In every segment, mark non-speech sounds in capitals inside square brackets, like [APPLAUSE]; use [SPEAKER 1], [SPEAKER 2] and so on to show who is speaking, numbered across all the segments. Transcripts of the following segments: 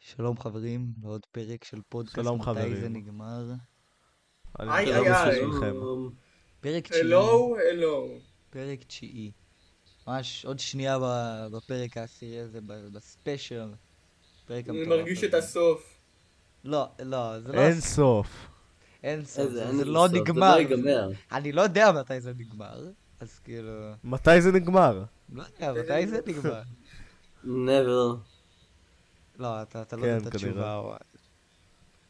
[SPEAKER 1] שלום חברים, לעוד פרק של פודקאסט,
[SPEAKER 2] שלום,
[SPEAKER 1] מתי
[SPEAKER 2] חברים.
[SPEAKER 1] זה נגמר.
[SPEAKER 2] אני
[SPEAKER 3] היי
[SPEAKER 2] מדבר
[SPEAKER 3] היי היי,
[SPEAKER 2] כן, לא בשבילכם.
[SPEAKER 1] פרק תשיעי,
[SPEAKER 3] הלו, הלו.
[SPEAKER 1] פרק תשיעי. ממש עוד שנייה ב- בפרק העשירי הזה, ב- בספיישל. פרק
[SPEAKER 3] אני
[SPEAKER 1] המטורף
[SPEAKER 3] מרגיש
[SPEAKER 1] הזה.
[SPEAKER 3] את הסוף.
[SPEAKER 1] לא, לא, זה לא...
[SPEAKER 2] אין סוף.
[SPEAKER 1] אין סוף,
[SPEAKER 4] איזה,
[SPEAKER 1] זה
[SPEAKER 4] אין
[SPEAKER 1] זה
[SPEAKER 4] לזה
[SPEAKER 1] לא
[SPEAKER 4] סוף,
[SPEAKER 1] נגמר.
[SPEAKER 4] זה לא ייגמר.
[SPEAKER 1] אני לא יודע מתי זה נגמר, אז כאילו...
[SPEAKER 2] מתי זה נגמר?
[SPEAKER 1] לא יודע, מתי זה נגמר.
[SPEAKER 4] never.
[SPEAKER 1] לא, אתה אתה לא
[SPEAKER 2] כן,
[SPEAKER 1] יודע את התשובה.
[SPEAKER 2] כנראה.
[SPEAKER 1] אורן.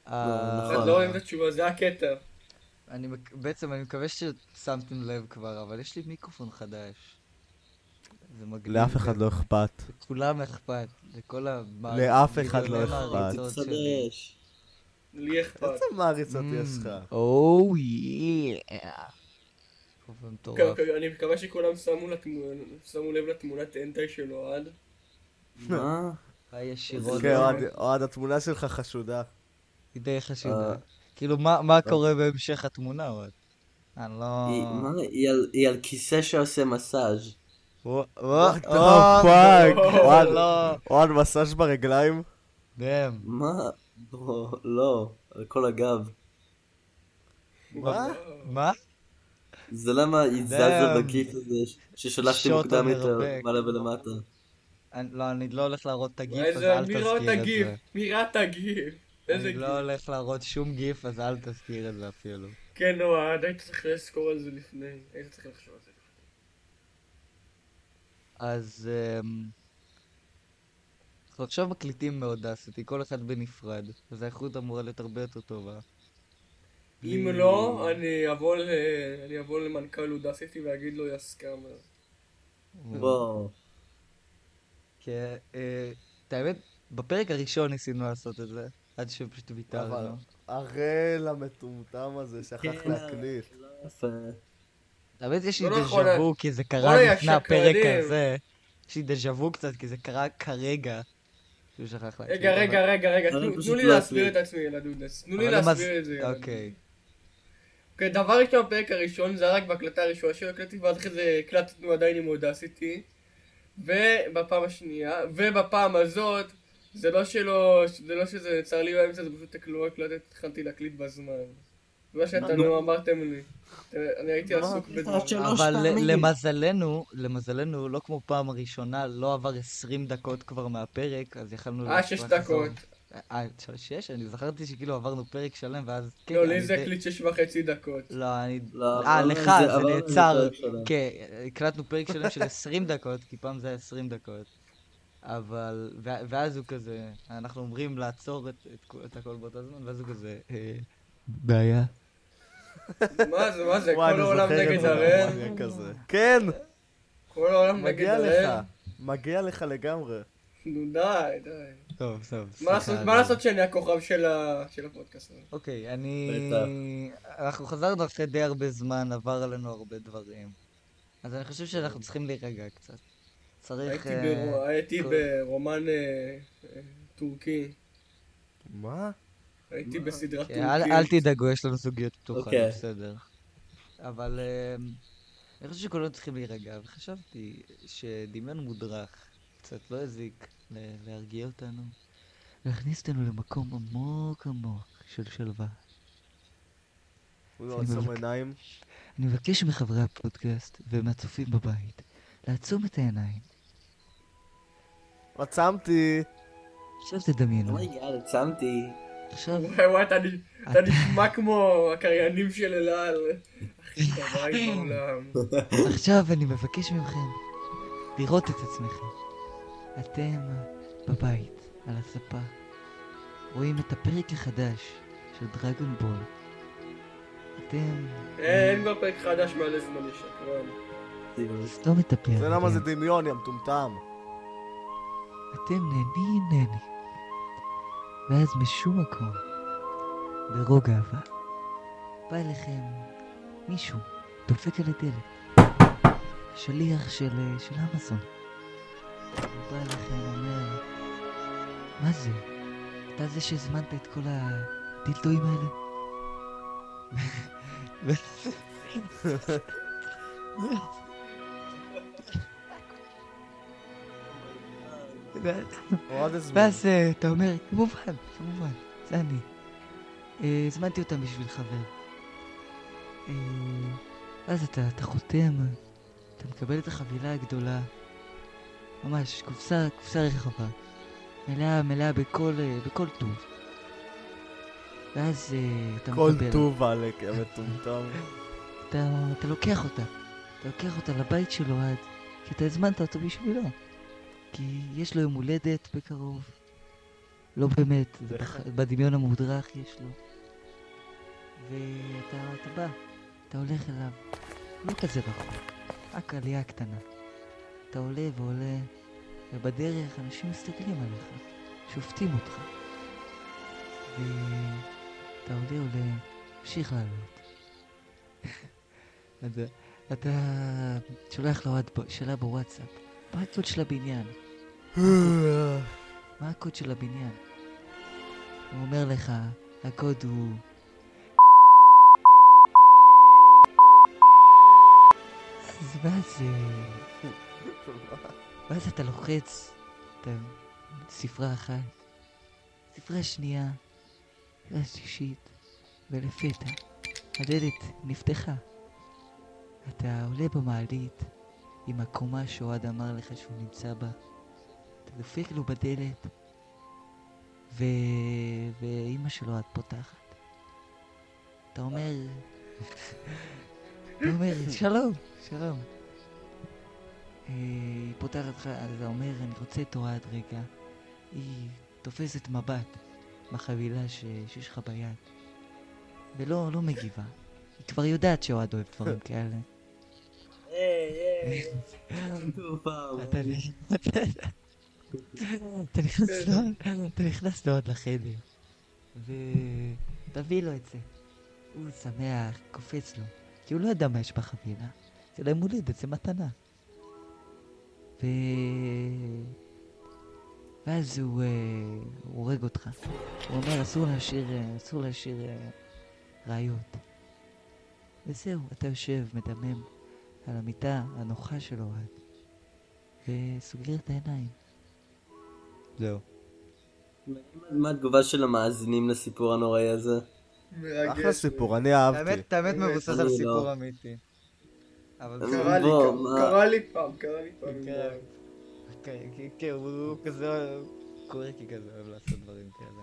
[SPEAKER 1] אה,
[SPEAKER 4] נכון.
[SPEAKER 3] אני לא אוהב את התשובה, זה הקטע.
[SPEAKER 1] אני מק- בעצם אני מקווה ששמתם לב כבר, אבל יש לי מיקרופון חדש. זה מגניב.
[SPEAKER 2] לאף אחד לא אכפת.
[SPEAKER 1] לכולם אכפת, לכל ה...
[SPEAKER 2] לאף אחד לא אכפת.
[SPEAKER 4] תתחדש.
[SPEAKER 3] לי אכפת.
[SPEAKER 2] איזה מעריצות
[SPEAKER 1] Mm.
[SPEAKER 3] Mm.
[SPEAKER 2] יש לך?
[SPEAKER 1] או יאה. מיקרופון Oh, מטורף.
[SPEAKER 3] אני מקווה שכולם שמו לתמונה- שמו לב לתמונת אנטי של אוהד.
[SPEAKER 4] מה?
[SPEAKER 1] בא ישירות.
[SPEAKER 2] כן, אוהד- אוהד, התמונה שלך חשודה.
[SPEAKER 1] היא די חשובה.
[SPEAKER 4] אה.
[SPEAKER 1] כאילו, מה מה קורה בהמשך התמונה עוד? אני לא...
[SPEAKER 4] היא- מה? היא על- היא על כיסא שעושה מסאז'.
[SPEAKER 1] וואו,
[SPEAKER 2] Oh,
[SPEAKER 3] אה,
[SPEAKER 2] What the
[SPEAKER 1] וואו,
[SPEAKER 2] fuck? אוהד-
[SPEAKER 1] לא.
[SPEAKER 2] אוהד מסאז' ברגליים?
[SPEAKER 1] דאם.
[SPEAKER 4] מה? בוא, לא, על כל הגב.
[SPEAKER 2] מה?
[SPEAKER 1] מה?
[SPEAKER 4] זה למה היא
[SPEAKER 1] Damn.
[SPEAKER 4] זזה בכיף הזה ש- ששלחתי
[SPEAKER 1] שוט
[SPEAKER 4] מוקדם יותר,
[SPEAKER 1] המרפק.
[SPEAKER 4] מעלה ולמטה.
[SPEAKER 1] אני- לא, אני לא הולך להראות את הגיף, אז
[SPEAKER 3] איזה,
[SPEAKER 1] אל
[SPEAKER 3] מי ראה לא את
[SPEAKER 1] תזכיר את
[SPEAKER 3] הגיף?
[SPEAKER 1] זה.
[SPEAKER 3] מי ראה את הגיף? איזה
[SPEAKER 1] אני
[SPEAKER 3] גיף?
[SPEAKER 1] לא הולך להראות שום גיף, אז אל תזכיר את זה אפילו.
[SPEAKER 3] כן, אוהד, היית צריך לזכור על זה לפני. היית צריך לחשוב על זה.
[SPEAKER 1] אז... אמ, אנחנו עכשיו מקליטים מאודסיטי, כל אחד בנפרד, אז האיכות אמורה להיות הרבה יותר טובה.
[SPEAKER 3] אם
[SPEAKER 1] בלי-
[SPEAKER 3] לא, אני אבוא ל- אני אבוא למנכ"ל אודסיטי ואגיד לו יסקאמה.
[SPEAKER 1] אה,
[SPEAKER 4] בוא.
[SPEAKER 1] כן, אה, את האמת, בפרק הראשון ניסינו לעשות את זה, עד שפשוט
[SPEAKER 3] כן,
[SPEAKER 2] אבל
[SPEAKER 3] לא.
[SPEAKER 1] ויתרנו.
[SPEAKER 2] הראל המטומטם הזה שכח
[SPEAKER 4] כן,
[SPEAKER 2] להקליט.
[SPEAKER 4] יפה.
[SPEAKER 1] האמת יש לי
[SPEAKER 3] לא נכון,
[SPEAKER 1] דז'ה וו, כי זה קרה
[SPEAKER 3] אוי,
[SPEAKER 1] לפני הפרק
[SPEAKER 3] השקרנים.
[SPEAKER 1] הזה. יש לי דז'ה וו קצת, כי זה קרה כרגע. שהוא שכח להקליט,
[SPEAKER 3] רגע,
[SPEAKER 1] אבל-
[SPEAKER 3] רגע, רגע, רגע,
[SPEAKER 4] אבל
[SPEAKER 3] תנו
[SPEAKER 4] פשוט
[SPEAKER 3] תנו לי
[SPEAKER 4] לא
[SPEAKER 3] להסביר את
[SPEAKER 4] להסביר.
[SPEAKER 3] עצמי, לדודס. תנו לי
[SPEAKER 1] אבל הם אז-
[SPEAKER 3] להסביר את זה. ילדודס.
[SPEAKER 1] אוקיי.
[SPEAKER 3] אוקיי, דבר ראשון, הפרק הראשון, זה היה רק בהקלטה הראשונה שלו, הקלטתי ואחרי זה הקלטנו עדיין עם אודסיטי. ובפעם השנייה, ובפעם הזאת, זה לא שלא, זה לא שזה צר לי באמצע, זה פשוט לא הקלטתי, התחלתי להקליט בזמן. זה מה שאתם לא אמרתם לי. אתם- אני הייתי
[SPEAKER 4] לא,
[SPEAKER 3] עסוק
[SPEAKER 4] הקלטת
[SPEAKER 3] בדברים.
[SPEAKER 4] עד שלוש
[SPEAKER 1] אבל
[SPEAKER 4] פעמים.
[SPEAKER 1] ל- למזלנו, למזלנו, לא כמו פעם ראשונה, לא עבר 20 דקות כבר מהפרק, אז יכלנו...
[SPEAKER 3] אה, שש דקות.
[SPEAKER 1] אה, ש- שש? אני זכרתי שכאילו עברנו פרק שלם, ואז... כן,
[SPEAKER 3] לא,
[SPEAKER 1] אני
[SPEAKER 3] לי זה
[SPEAKER 1] די-
[SPEAKER 3] הקליט שש וחצי דקות.
[SPEAKER 1] לא, אני...
[SPEAKER 4] לא,
[SPEAKER 1] אה,
[SPEAKER 4] עברנו
[SPEAKER 1] לך,
[SPEAKER 4] את זה-
[SPEAKER 1] זה
[SPEAKER 4] עברנו את זה
[SPEAKER 1] נעצר.
[SPEAKER 4] פרק שלם.
[SPEAKER 1] כן, הקלטנו פרק שלם של 20 דקות, כי פעם זה היה 20 דקות. אבל... ו- ואז הוא כזה... אנחנו אומרים לעצור את- את כל- את הכל באותו זמן, ואז הוא כזה... אה, בעיה.
[SPEAKER 3] מה זה, מה זה,
[SPEAKER 2] [LAUGHS]
[SPEAKER 3] כל
[SPEAKER 2] וואי, אני
[SPEAKER 3] העולם
[SPEAKER 2] זוכר את
[SPEAKER 3] נגד
[SPEAKER 2] זה,
[SPEAKER 3] הראם,
[SPEAKER 2] המניאק הזה. כן,
[SPEAKER 3] כל העולם נגד
[SPEAKER 2] מגיע
[SPEAKER 3] הראם.
[SPEAKER 2] לך. מגיע לך לגמרי.
[SPEAKER 3] נו די, די.
[SPEAKER 1] טוב, טוב.
[SPEAKER 3] מה
[SPEAKER 1] סליחה,
[SPEAKER 3] לעשות- מה
[SPEAKER 1] אני-
[SPEAKER 3] לעשות שאני הכוכב של ה- של הפודקאסט הזה?
[SPEAKER 1] אוקיי, אני... אנחנו חזרנו אחרי די הרבה זמן, עבר עלינו הרבה דברים. אז אני חושב שאנחנו צריכים להירגע קצת. צריך...
[SPEAKER 3] הייתי
[SPEAKER 1] אה,
[SPEAKER 3] ברו- הייתי
[SPEAKER 1] כל-
[SPEAKER 3] ברומן אה, אה, טורקי,
[SPEAKER 2] מה?
[SPEAKER 3] הייתי בסדרה
[SPEAKER 1] כן, אל אל
[SPEAKER 3] טורקית.
[SPEAKER 1] תדאגו, יש לנו סוגיות פתוחות,
[SPEAKER 4] אוקיי.
[SPEAKER 1] בסדר. אבל אה, אני חושב שכולנו צריכים להירגע, וחשבתי שדמיון מודרך קצת לא הזיק ל- להרגיע אותנו, להכניס אותנו למקום עמוק עמוק של שלווה.
[SPEAKER 2] הוא לא עצום עיניים.
[SPEAKER 1] אני מבקש מחברי הפודקאסט ומהצופים בבית לעצום את העיניים.
[SPEAKER 2] עצמתי.
[SPEAKER 1] עכשיו תדמיינו.
[SPEAKER 4] אומייגאד, עצמתי.
[SPEAKER 1] עכשיו...
[SPEAKER 3] וואי וואי, אתה נ- אתה נשמע כמו הקריינים של אל על. הכי חברי
[SPEAKER 1] [LAUGHS]
[SPEAKER 3] בעולם.
[SPEAKER 1] עכשיו אני מבקש מכם לראות את עצמכם. אתם בבית, על הספה, רואים את הפרק החדש של דרגון בול. אתם...
[SPEAKER 3] אה, אין כבר פרק חדש מלא זמן יש שקרן.
[SPEAKER 1] סתום את הפרק.
[SPEAKER 2] זה למה זה דמיון, יא מטומטם.
[SPEAKER 1] אתם נהנים נהנים. ואז משום מקום, ברוגע אהבה, בא אליכם מישהו, דופק על הדלת. שליח של, אה, של אמזון. הוא בא אליכם, אומר, מה זה? אתה זה שהזמנת את כל הדילדואים האלה? ואז-
[SPEAKER 2] אוהד הזמן.
[SPEAKER 1] ואז אה, אתה אומר, כמובן, כמובן, זה אני. אה, הזמנתי אותם בשביל חבר. אה, ואז אתה, אתה חותם, אתה מקבל את החבילה הגדולה, ממש, קופסה, קופסה רחבה, מלאה, מלאה בכל, אה, בכל טוב. ואז אה, אתה
[SPEAKER 2] כל
[SPEAKER 1] מקבל,
[SPEAKER 2] טוב עלק, המטומטם. [LAUGHS]
[SPEAKER 1] אתה, אתה לוקח אותה, אתה לוקח אותה לבית של אוהד, כי אתה הזמנת אותו בשבילו. כי יש לו יום הולדת בקרוב. לא באמת, זה בח... בדמיון המודרך יש לו. ואתה אתה בא, אתה הולך אליו, לא כזה רחוק, רק עלייה קטנה. אתה עולה ועולה, ובדרך אנשים מסתכלים עליך, שופטים אותך. ואתה עולה עולה, ממשיך לעלות. אתה, אה, אתה שולח לו עוד ב- שאלה בוואטסאפ, מה הקוד של הבניין? מה הקוד של הבניין? הוא אומר לך, הקוד הוא... אז מה זה? ואז אתה לוחץ, אתה... ספרה אחת, ספרה שנייה, ספרה שלישית, ולפתע הדלת נפתחה. אתה עולה במעלית עם הקומה שאוהד אמר לך שהוא נמצא בה. אתה דופק לו בדלת, ו... ואימא שלו את פותחת. אתה אומר... אתה אומר, שלום, שלום. אה, היא פותחת לך, אז אתה אומר, אני רוצה את אוהד רגע. היא תופסת מבט בחבילה ש... שיש לך ביד, ולא לא מגיבה. היא כבר יודעת שאוהד אוהב דברים כאלה.
[SPEAKER 4] כל פעם.
[SPEAKER 1] אתה [LAUGHS] אתה נכנס לו, אתה נכנס לו עוד לחדר. ותביא לו את זה. הוא שמח, קופץ לו. כי הוא לא ידע מה יש בחבילה. זה להם הולדת, זה מתנה. ו... ואז הוא אה, הוא הורג אותך. הוא אומר, אסור להשאיר, אה, אסור להשאיר אה, ראיות. וזהו, אתה יושב, מדמם, על המיטה הנוחה של אוהד, וסוגר את העיניים. זהו.
[SPEAKER 4] מה התגובה של המאזינים לסיפור הנוראי הזה?
[SPEAKER 3] מרגש.
[SPEAKER 2] אחלה סיפור, אני אהבתי.
[SPEAKER 5] האמת, האמת מבוסס על
[SPEAKER 4] אני
[SPEAKER 5] סיפור
[SPEAKER 4] לא.
[SPEAKER 5] אמיתי. אבל
[SPEAKER 4] אני-
[SPEAKER 5] זה-
[SPEAKER 3] קרה לי,
[SPEAKER 4] בוא,
[SPEAKER 3] פעם,
[SPEAKER 4] מה?
[SPEAKER 3] קרה לי פעם, קרה לי פעם.
[SPEAKER 5] כן. כן, כן, כן, הוא הוא כזה קורקי כזה אוהב לעשות דברים כאלה.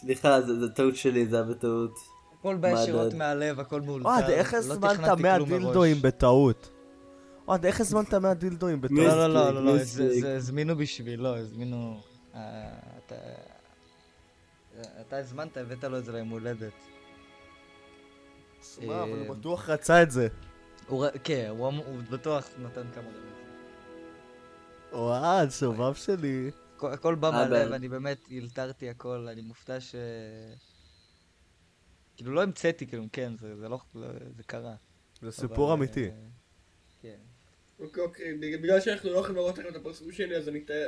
[SPEAKER 4] סליחה, זה זה טעות שלי, זה היה בטעות.
[SPEAKER 5] הכל בא
[SPEAKER 4] מה
[SPEAKER 5] ישירות
[SPEAKER 4] דעתך?
[SPEAKER 5] מהלב, הכל מאולתר.
[SPEAKER 2] לא- אוהד, אה, איך
[SPEAKER 5] לא
[SPEAKER 2] הזמנת
[SPEAKER 5] תכננתי
[SPEAKER 2] 100
[SPEAKER 5] כלום מראש.
[SPEAKER 2] דילדואים בטעות? אוהד, איך הזמנת 100 דילדואים
[SPEAKER 4] מי-
[SPEAKER 2] בטעות?
[SPEAKER 5] לא, לא, לא, לא, לא,
[SPEAKER 4] מיסטריק,
[SPEAKER 5] זה-
[SPEAKER 4] מיסטריק.
[SPEAKER 5] זה הזמינו בשבילו, הזמינו... אה, אתה- אתה הזמנת, הבאת לו את זה ליום הולדת.
[SPEAKER 2] מה, אבל הוא
[SPEAKER 5] אה,
[SPEAKER 2] בטוח רצה את זה.
[SPEAKER 5] הוא ר- כן, הוא אמ- הוא בטוח נתן כמה דברים.
[SPEAKER 2] אוהד, שובב שלי.
[SPEAKER 5] הכל- הכל
[SPEAKER 2] אה,
[SPEAKER 5] בא
[SPEAKER 4] אבל-
[SPEAKER 5] מהלב, אני באמת הילתרתי הכל, אני מופתע ש... כאילו לא המצאתי כלום, כן, זה זה לא... לא- זה קרה.
[SPEAKER 2] זה
[SPEAKER 5] אבל,
[SPEAKER 2] סיפור אמיתי.
[SPEAKER 5] אה, כן.
[SPEAKER 3] אוקיי, אוקיי, בג- בגלל שאנחנו לא יכולים לראות לכם את הפרצוף שלי, אז אני אתאר,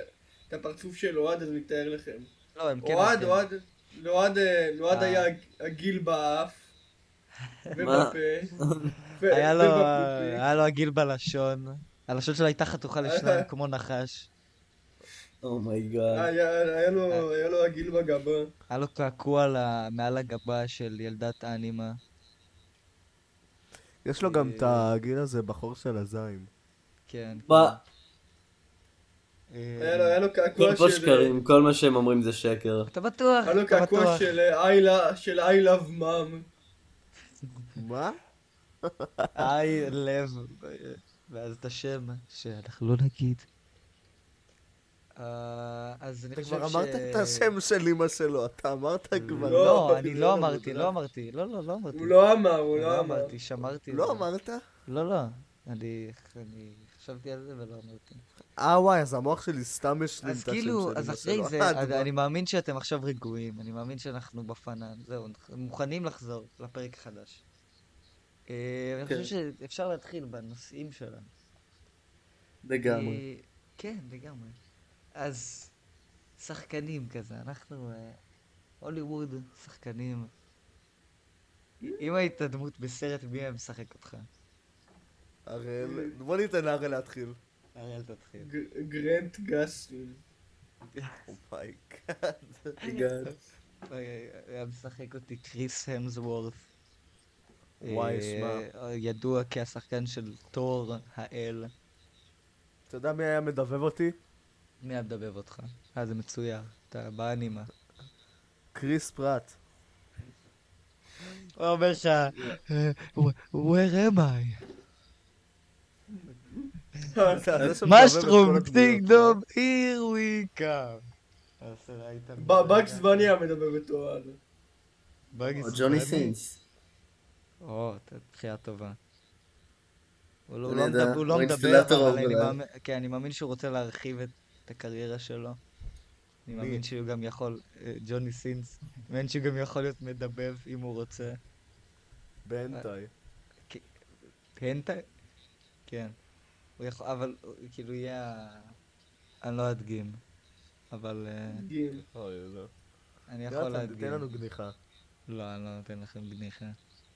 [SPEAKER 3] את הפרצוף של אוהד, אז אני אתאר לכם.
[SPEAKER 5] לא, הם כן...
[SPEAKER 3] אוהד,
[SPEAKER 5] עושים.
[SPEAKER 3] אוהד, לאוהד, אה, לאוהד
[SPEAKER 5] אה.
[SPEAKER 3] היה הגיל באף,
[SPEAKER 4] [LAUGHS] מה?
[SPEAKER 3] ובפה, ו-
[SPEAKER 5] היה לו- אה.
[SPEAKER 3] ובפופיק.
[SPEAKER 5] היה לו עגיל בלשון, הלשון שלו הייתה חתוכה
[SPEAKER 3] [LAUGHS]
[SPEAKER 5] לשניים כמו נחש,
[SPEAKER 4] Oh אומייגאד.
[SPEAKER 3] היה היה לו- היה לו הגיל בגבה.
[SPEAKER 5] היה לו קעקוע ל- מעל הגבה של ילדת אנימה.
[SPEAKER 2] יש לו
[SPEAKER 5] אה,
[SPEAKER 2] גם את הגיל הזה, בחור של הזין.
[SPEAKER 5] כן.
[SPEAKER 4] מה?
[SPEAKER 5] אה,
[SPEAKER 3] היה לו- היה לו
[SPEAKER 4] כל אה,
[SPEAKER 3] קעקוע
[SPEAKER 4] פה
[SPEAKER 3] של...
[SPEAKER 4] שקרים, כל מה שהם אומרים זה שקר.
[SPEAKER 5] אתה בטוח,
[SPEAKER 3] היה לו
[SPEAKER 5] אתה
[SPEAKER 3] קעקוע
[SPEAKER 5] בטוח.
[SPEAKER 3] של אה, I love- של I love mom.
[SPEAKER 2] מה?
[SPEAKER 5] [LAUGHS] היי, לב. ואז את השם, שאנחנו לא נגיד. אה, אז אני
[SPEAKER 2] אתה
[SPEAKER 5] חושב ש...
[SPEAKER 2] כבר אמרת את השם של אמא שלו, אתה אמרת כבר.
[SPEAKER 3] לא,
[SPEAKER 5] לא, אני לא
[SPEAKER 3] זה לא
[SPEAKER 5] אמרתי,
[SPEAKER 3] מודרך.
[SPEAKER 5] לא אמרתי. לא, לא, לא אמרתי.
[SPEAKER 3] הוא לא אמר, הוא
[SPEAKER 5] אני
[SPEAKER 3] לא אמר.
[SPEAKER 5] אמרתי, שמרתי. את
[SPEAKER 2] לא
[SPEAKER 5] זה.
[SPEAKER 2] אמרת?
[SPEAKER 5] לא, לא. אני אני חשבתי על זה ולא אמרתי.
[SPEAKER 2] אה וואי, אז המוח שלי סתם משלים את
[SPEAKER 5] אז
[SPEAKER 2] השם של
[SPEAKER 5] כאילו, אז
[SPEAKER 2] אמא
[SPEAKER 5] אחרי
[SPEAKER 2] שלו.
[SPEAKER 5] זה,
[SPEAKER 2] אה,
[SPEAKER 5] אז
[SPEAKER 2] דבר.
[SPEAKER 5] אני מאמין שאתם עכשיו רגועים, אני מאמין שאנחנו בפנן, זהו, אנחנו מוכנים לחזור לפרק החדש. אה, אני
[SPEAKER 4] כן.
[SPEAKER 5] חושב שאפשר להתחיל בנושאים שלנו.
[SPEAKER 4] לגמרי.
[SPEAKER 5] אה, כן, לגמרי. אז שחקנים כזה, אנחנו אה, הוליווד, שחקנים. אם היית דמות בסרט, מי היה משחק אותך?
[SPEAKER 2] הראל, בוא ניתן להראל להתחיל.
[SPEAKER 5] אריאל תתחיל.
[SPEAKER 3] ג- גרנט גסלין.
[SPEAKER 2] אומייגאד.
[SPEAKER 1] אוי, היה משחק אותי קריס המסוורת.
[SPEAKER 2] וואי,
[SPEAKER 1] אה,
[SPEAKER 2] שמע.
[SPEAKER 1] ידוע כהשחקן של תור האל.
[SPEAKER 2] אתה יודע מי היה מדבב אותי?
[SPEAKER 1] מי היה מדבב אותך? אה, זה מצויר. אתה באנימה.
[SPEAKER 2] קריס פרט.
[SPEAKER 1] הוא אומר לך, אה, where am I? אה,
[SPEAKER 2] לא
[SPEAKER 1] mushroom, ding dong, here we come. אז ראית מי זה
[SPEAKER 3] בגס
[SPEAKER 5] אה,
[SPEAKER 1] היה?
[SPEAKER 3] בניה מדבר איתו אז.
[SPEAKER 1] בגס
[SPEAKER 4] או ג'וני
[SPEAKER 1] בני.
[SPEAKER 4] סינס.
[SPEAKER 1] או, ת- בחירה טובה. הוא לא-
[SPEAKER 4] אני
[SPEAKER 1] הוא לא
[SPEAKER 4] יודע,
[SPEAKER 1] מדבר, הוא לא
[SPEAKER 4] הוא
[SPEAKER 1] מדבר,
[SPEAKER 4] אינסטלטור,
[SPEAKER 1] אבל אני
[SPEAKER 4] אבל-
[SPEAKER 1] מאמין, כן, אני מאמין שהוא רוצה להרחיב את את הקריירה שלו. אני
[SPEAKER 2] מי?
[SPEAKER 1] מאמין שהוא גם יכול, אה, ג'וני סינס, אני מאמין שהוא גם יכול להיות מדבב אם הוא רוצה.
[SPEAKER 2] בנטאי.
[SPEAKER 1] פנטה? כן. הוא יכול, אבל הוא- כאילו יהיה... ה- אני לא אדגים, אבל אה,
[SPEAKER 3] גיל.
[SPEAKER 2] אוי, לא.
[SPEAKER 1] אני יכול
[SPEAKER 2] יאללה, תן
[SPEAKER 1] להדגים.
[SPEAKER 2] לנו גניחה.
[SPEAKER 1] לא, אני לא נותן לכם גניחה.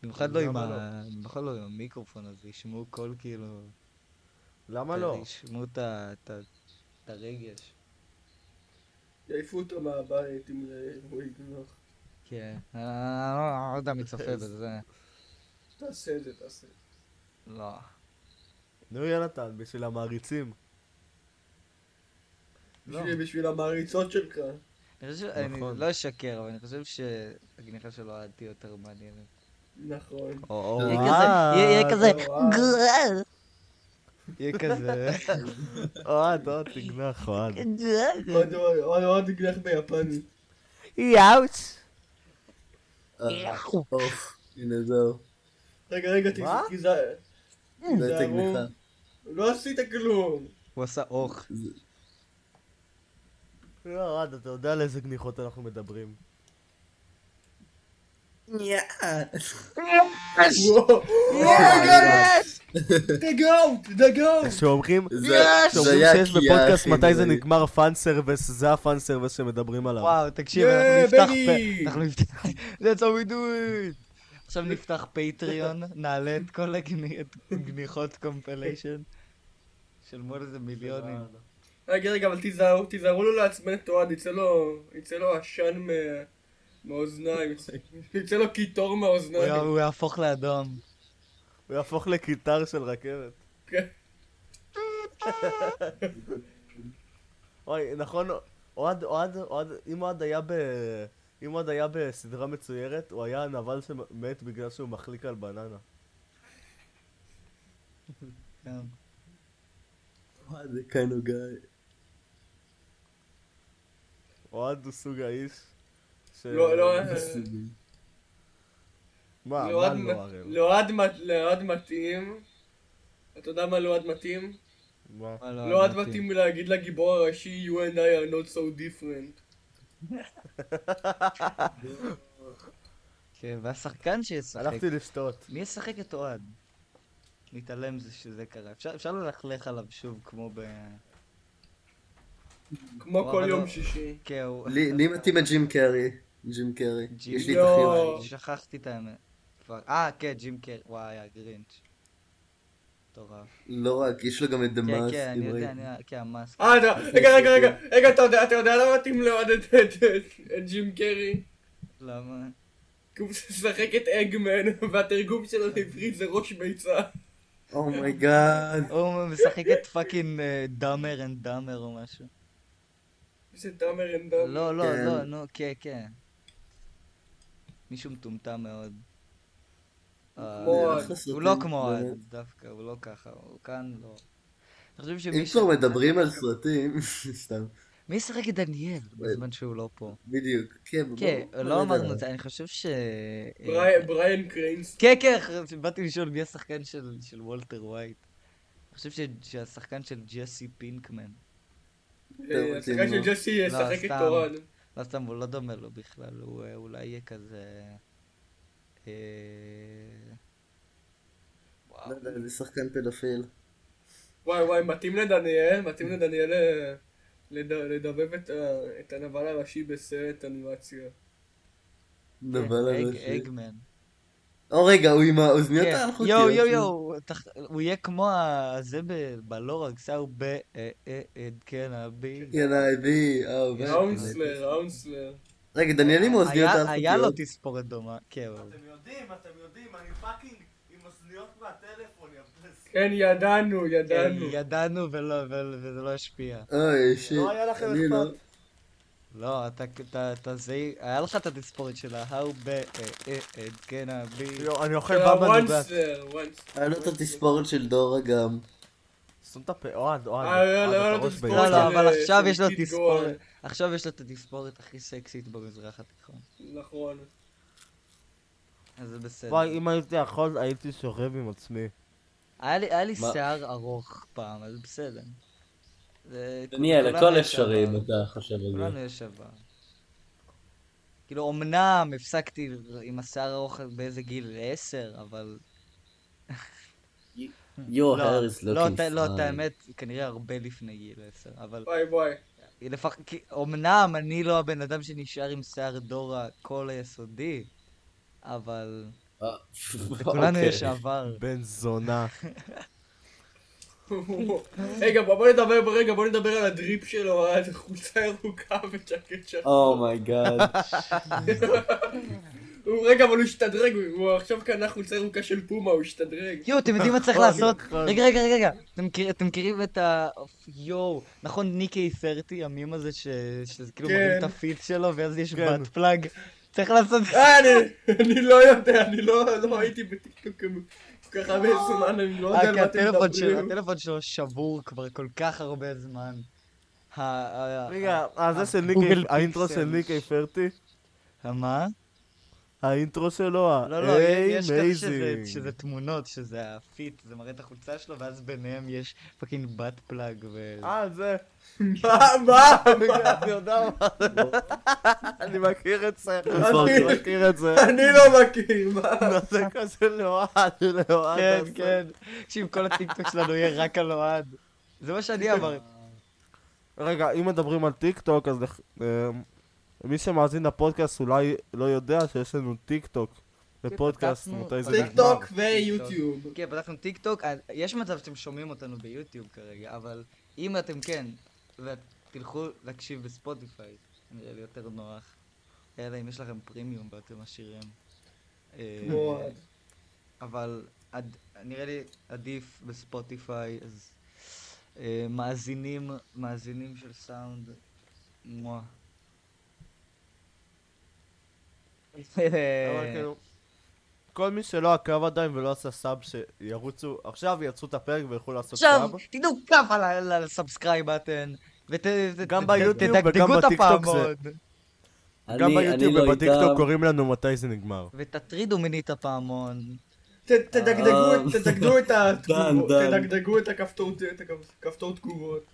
[SPEAKER 1] במיוחד לא עם
[SPEAKER 2] למה
[SPEAKER 1] ה... במיוחד לא עם המיקרופון הזה, ישמעו קול כאילו...
[SPEAKER 2] למה לא?
[SPEAKER 1] ישמעו את ה- את ה- את הרגש.
[SPEAKER 3] יעיפו אותו מהבית אם זה- הוא יגנוח.
[SPEAKER 1] כן. אני לא- לא יודע מי צופה בזה.
[SPEAKER 3] תעשה את זה, תעשה את זה.
[SPEAKER 1] לא.
[SPEAKER 2] נו יונתן, בשביל המעריצים.
[SPEAKER 1] לא.
[SPEAKER 3] בשביל- בשביל המעריצות שלך.
[SPEAKER 1] אני חושב, אני
[SPEAKER 2] נכון.
[SPEAKER 1] לא אשקר, אבל אני חושב שהגניחה של אוהד תהיה יותר מעניינת.
[SPEAKER 3] נכון.
[SPEAKER 1] יהיה כזה, יהיה- יהיה כזה,
[SPEAKER 3] וואו.
[SPEAKER 1] גרר. יהיה כזה,
[SPEAKER 2] אוהד, אוהד, תגנח, אוהד.
[SPEAKER 1] כן.
[SPEAKER 3] עוד- עוד- עוד- עוד יגנח ביפנית.
[SPEAKER 4] אה, אוף, הנה זהו.
[SPEAKER 3] רגע, רגע,
[SPEAKER 2] מה?
[SPEAKER 3] תיזהר.
[SPEAKER 1] אה,
[SPEAKER 4] זו הייתה גניחה.
[SPEAKER 3] לא עשית כלום.
[SPEAKER 1] הוא עשה אוך. [LAUGHS]
[SPEAKER 2] לא, אוהד, אתה יודע על איזה גניחות אנחנו מדברים.
[SPEAKER 3] וואו. The goat, the goat.
[SPEAKER 2] כשאומרים
[SPEAKER 4] זה- זה
[SPEAKER 2] כשאומרים
[SPEAKER 4] היה
[SPEAKER 2] שיש
[SPEAKER 4] קיאה,
[SPEAKER 2] בפודקאסט
[SPEAKER 4] אחי,
[SPEAKER 2] מתי זה
[SPEAKER 4] נוראית.
[SPEAKER 2] נגמר פאן סרוויס, זה הפאן סרוויס שמדברים עליו.
[SPEAKER 1] וואו, תקשיב,
[SPEAKER 3] Yeah,
[SPEAKER 1] אנחנו נפתח...
[SPEAKER 3] baby!
[SPEAKER 1] פ- אנחנו נפתח... [LAUGHS] That's how we do it! עכשיו נפתח פטריון, נעלה את כל הגניחות קומפליישן של מול איזה מיליונים.
[SPEAKER 3] רגע, רגע, אבל תיזהרו, תיזהרו לו לעצבן את אוהד, יצא לו, יצא לו עשן מה- מהאוזניים, יצא- יצא לו קיטור
[SPEAKER 1] הוא
[SPEAKER 3] מהאוזניים.
[SPEAKER 1] יע- הוא יהפוך לאדום.
[SPEAKER 2] הוא יהפוך לקיטר של רכבת.
[SPEAKER 3] כן.
[SPEAKER 2] אוי, נכון, אוהד, אוהד, אוהד, אם אוהד היה ב... אם אוהד היה בסדרה מצוירת, הוא היה הנבל שמת בגלל שהוא מחליק על בננה.
[SPEAKER 1] כן.
[SPEAKER 4] וואי, זה kind of guy.
[SPEAKER 2] אוהד הוא סוג האיש ש...
[SPEAKER 3] לא, לא, אה,
[SPEAKER 2] מה, מה
[SPEAKER 3] לאוהד
[SPEAKER 2] לא
[SPEAKER 3] מ-
[SPEAKER 2] הראל?
[SPEAKER 3] לאוהד מת- לאוהד מתאים. אתה יודע מה לאוהד מתאים?
[SPEAKER 2] מה?
[SPEAKER 1] מה
[SPEAKER 3] לאוהד לא, מתאים להגיד לגיבור הראשי, you and I are not so different.
[SPEAKER 1] כן, והשחקן שישחק.
[SPEAKER 2] הלכתי לשתות.
[SPEAKER 1] מי ישחק את אוהד? נתעלם זה שזה קרה. אפשר- אפשר ללכלך עליו שוב כמו ב...
[SPEAKER 3] כמו
[SPEAKER 1] וואו,
[SPEAKER 3] כל
[SPEAKER 1] אבל
[SPEAKER 3] יום
[SPEAKER 1] לא.
[SPEAKER 3] שישי.
[SPEAKER 1] כן, הוא...
[SPEAKER 4] לי לי מתאים את ג'ים קרי. ג'ים קרי.
[SPEAKER 1] ג'ים-
[SPEAKER 4] יש לי את
[SPEAKER 3] לא.
[SPEAKER 4] החיוך.
[SPEAKER 1] שכחתי את האמת. כבר- אה, כן, ג'ים קר... וואי, הגרינץ'. מטורף.
[SPEAKER 4] לא רק, יש לו גם את
[SPEAKER 1] כן,
[SPEAKER 4] דמאס.
[SPEAKER 1] כן, אני יודע, אני- כן, המאסק.
[SPEAKER 3] אה, אתה, רגע, רגע, רגע, רגע, אתה יודע, אתה יודע למה מתאים לאוהד את- את- את- את ג'ים קרי?
[SPEAKER 1] למה?
[SPEAKER 3] כי הוא משחק את אגמן, [LAUGHS] והתרגום שלו לעברית זה ראש ביצה.
[SPEAKER 4] Oh אומייגאד.
[SPEAKER 1] הוא משחק את פאקינג אה, דאמר אנד דאמר או משהו.
[SPEAKER 3] זה דאמר אנד דאמר.
[SPEAKER 1] לא, לא,
[SPEAKER 4] כן.
[SPEAKER 1] לא, נו, כן, כן. מישהו מטומטם מאוד. אה,
[SPEAKER 3] כמו אוהד.
[SPEAKER 1] הוא לא כמו אוהד דווקא, הוא לא ככה, הוא כאן לא. אני חושב
[SPEAKER 4] אם
[SPEAKER 1] שמי ש...
[SPEAKER 4] כבר מדברים על סרטים, [LAUGHS] סתם,
[SPEAKER 1] מי ישחק את דניאל בזמן שהוא לא פה?
[SPEAKER 4] בדיוק. כן, בוא-
[SPEAKER 1] כן,
[SPEAKER 4] בוא
[SPEAKER 1] לא
[SPEAKER 4] נדבר.
[SPEAKER 1] אמרנו את זה, אני חושב ש... אה,
[SPEAKER 3] ברי- בריאן קריינס.
[SPEAKER 1] כן, כן, אחרי- באתי לשאול מי השחקן של של וולטר ווייט. אני חושב ש- שהשחקן של ג'סי פינקמן.
[SPEAKER 3] אה, השחקן של ג'סי ישחק את
[SPEAKER 1] סתם.
[SPEAKER 3] אורן.
[SPEAKER 1] לא סתם, הוא לא דומה לו בכלל, הוא אה, אולי יהיה כזה... אה,
[SPEAKER 4] לא יודע, זה שחקן פדופיל.
[SPEAKER 3] וואי וואי, מתאים לדניאל, מתאים לדניאל אה, לד- לדבב את ה- את הנבל הראשי בסרט אנימציה.
[SPEAKER 4] נבל
[SPEAKER 1] כן, אג-
[SPEAKER 4] הראשי.
[SPEAKER 1] אגמן.
[SPEAKER 4] או רגע, הוא עם האוזניות
[SPEAKER 1] כן.
[SPEAKER 4] האלחוטיות.
[SPEAKER 1] יואו, יואו, יואו, תח- הוא יהיה כמו ה- זה ב- בלורג, סאו ב... אה, אה, אה, כן, הבי.
[SPEAKER 4] ינאי בי, אהו,
[SPEAKER 1] כן,
[SPEAKER 4] באמת.
[SPEAKER 3] האונסלר, האונסלר.
[SPEAKER 4] אה, רגע, דניאל עם האוזניות
[SPEAKER 1] היה-
[SPEAKER 4] האלחוטיות.
[SPEAKER 1] היה לו תספורת דומה, כן, אבל-
[SPEAKER 2] אתם יודעים, אתם יודעים, אני פאקינג עם אוזניות מהטלפון, יא בלס.
[SPEAKER 3] כן, ידענו,
[SPEAKER 1] כן,
[SPEAKER 3] ידענו.
[SPEAKER 1] ידענו ולא- ו- וזה לא השפיע.
[SPEAKER 4] אוי, שיט.
[SPEAKER 2] לא היה לכם
[SPEAKER 4] אני לא-
[SPEAKER 2] אכפת.
[SPEAKER 1] לא, אתה- אתה- אתה זה... היה לך את התספורת של ה-How bad can I be.
[SPEAKER 2] יואו, אני אוכל
[SPEAKER 3] כן,
[SPEAKER 2] במבה נוגת.
[SPEAKER 3] הוואנסלר, וואנסלר.
[SPEAKER 4] היה לו את התספורת של דורה גם.
[SPEAKER 2] סתום את הפה, אוהד, אוהד.
[SPEAKER 3] אה, לא,
[SPEAKER 2] אוהד,
[SPEAKER 3] לא,
[SPEAKER 2] אתה
[SPEAKER 3] לא,
[SPEAKER 2] ראש
[SPEAKER 3] לא,
[SPEAKER 2] בעיר.
[SPEAKER 1] לא, לא, אבל
[SPEAKER 3] של,
[SPEAKER 1] עכשיו
[SPEAKER 3] אה,
[SPEAKER 1] יש לו
[SPEAKER 3] קיד
[SPEAKER 1] תספורת. עכשיו יש לו את התספורת הכי סקסית במזרח התיכון.
[SPEAKER 3] נכון.
[SPEAKER 1] אז זה בסדר.
[SPEAKER 2] וואי, אם הייתי יכול, הייתי שוכב עם עצמי.
[SPEAKER 1] היה לי- היה לי
[SPEAKER 4] מה?
[SPEAKER 1] שיער ארוך פעם, אז בסדר. זה-
[SPEAKER 4] דניאל,
[SPEAKER 1] כולנו
[SPEAKER 4] הכל
[SPEAKER 1] יש
[SPEAKER 4] אפשרי אם
[SPEAKER 1] עבר.
[SPEAKER 4] אתה חושב על
[SPEAKER 1] כולנו
[SPEAKER 4] זה.
[SPEAKER 1] יש עבר. כאילו, אמנם הפסקתי עם השיער ארוך באיזה גיל? עשר, אבל...
[SPEAKER 4] יו,
[SPEAKER 1] לא,
[SPEAKER 4] האריס
[SPEAKER 1] לא,
[SPEAKER 4] לוקינג
[SPEAKER 1] את- לא, את האמת, כנראה הרבה לפני גיל עשר, אבל...
[SPEAKER 3] וואי וואי.
[SPEAKER 1] לפח... כי- אמנם אני לא הבן אדם שנשאר עם שיער דורה כל היסודי, אבל...
[SPEAKER 4] [LAUGHS] אה,
[SPEAKER 1] [LAUGHS]
[SPEAKER 4] אוקיי.
[SPEAKER 1] לכולנו יש עבר.
[SPEAKER 2] בן זונה.
[SPEAKER 3] רגע, בוא בוא נדבר, בוא- רגע, בוא נדבר על הדריפ שלו, על החולצה ירוקה וג'קט שחור.
[SPEAKER 4] אה. Oh אומייגאד.
[SPEAKER 1] [LAUGHS]
[SPEAKER 3] הוא- רגע, אבל הוא השתדרג, הוא- הוא עכשיו קנה חולצה ירוקה של פומה, הוא השתדרג.
[SPEAKER 1] יואו, אתם יודעים מה צריך
[SPEAKER 2] נכון,
[SPEAKER 1] לעשות?
[SPEAKER 2] נכון.
[SPEAKER 1] רגע, רגע, רגע, רגע. אתם מכיר- אתם מכירים את ה... יואו, נכון, ניקי סרטי, המים הזה ש- שזה כאילו
[SPEAKER 3] כן.
[SPEAKER 1] מראים את הפיץ שלו, ואז יש
[SPEAKER 2] כן.
[SPEAKER 1] בת פלאג. צריך לעשות...
[SPEAKER 3] אה, אני- אני לא יודע, אני לא לא הייתי בטיקטוק כל כך הרבה זמן, אני לא יודע על
[SPEAKER 1] אה, כי
[SPEAKER 3] מה אתם
[SPEAKER 1] הטלפון שלו,
[SPEAKER 3] מדברים.
[SPEAKER 1] הטלפון שלו שבור כבר כל כך הרבה זמן. ה- ה-
[SPEAKER 2] רגע, אה, זה של
[SPEAKER 1] גוגל
[SPEAKER 2] ניקי, האינטרו
[SPEAKER 1] פיקסל.
[SPEAKER 2] של ניקי פרטי?
[SPEAKER 1] ה- מה?
[SPEAKER 2] האינטרו שלו, ה-
[SPEAKER 1] לא, לא, יש כאלה שזה-
[SPEAKER 2] Amazing.
[SPEAKER 1] שזה תמונות, שזה הפיט, זה מראה את החולצה שלו, ואז ביניהם יש פאקינג בת פלאג ו...
[SPEAKER 2] אה, זה.
[SPEAKER 3] מה, מה?
[SPEAKER 2] רגע, אני יודע מה זה. אני מכיר את זה. אני
[SPEAKER 4] אוקיי.
[SPEAKER 2] מכיר את זה. [LAUGHS]
[SPEAKER 3] אני לא מכיר, מה?
[SPEAKER 2] זה כזה לאוהד, לאוהד.
[SPEAKER 1] כן,
[SPEAKER 2] עשה.
[SPEAKER 1] כן. תקשיב, כל הטיקטוק שלנו יהיה רק על אוהד. זה מה שאני אמרתי.
[SPEAKER 2] רגע, אם מדברים על טיק טוק, אז לח- אמ, מי שמאזין לפודקאסט אולי לא יודע שיש לנו טיק טוק. לפודקאסט,
[SPEAKER 1] פתחנו-
[SPEAKER 2] מתי זה נגמר.
[SPEAKER 3] טיק טוק ויוטיוב.
[SPEAKER 1] כן, פתחנו טיק טוק, אה, יש מצב שאתם שומעים אותנו ביוטיוב כרגע, אבל אם אתם כן, ותלכו להקשיב בספוטיפיי, נראה לי יותר נוח. אלא אם יש לכם פרימיום ואתם עשירים. אה,
[SPEAKER 3] כמו-
[SPEAKER 1] אבל עד- נראה לי עדיף בספוטיפיי, אז אה, מאזינים, מאזינים של סאונד, מואה. אה,
[SPEAKER 2] אבל כאילו, כל מי שלא עקב עדיין ולא עשה סאב, שירוצו, עכשיו יצאו את הפרק וילכו לעשות
[SPEAKER 1] עכשיו,
[SPEAKER 2] סאב.
[SPEAKER 1] תדעו כף על ה- על הסאבסקרייב בטן,
[SPEAKER 2] גם ביוטיוב וגם בטיקטוק זה- גם ביוטיוב
[SPEAKER 4] לא
[SPEAKER 2] ובטיקטוק קוראים לנו מתי זה נגמר.
[SPEAKER 1] [LAUGHS] ותטרידו מינית הפעמון.
[SPEAKER 3] ת- תדגדגו את- תדגדגו את התגובות,
[SPEAKER 4] דן, דן.
[SPEAKER 3] תדגדגו את הכפתור- את הכפתור תגובות.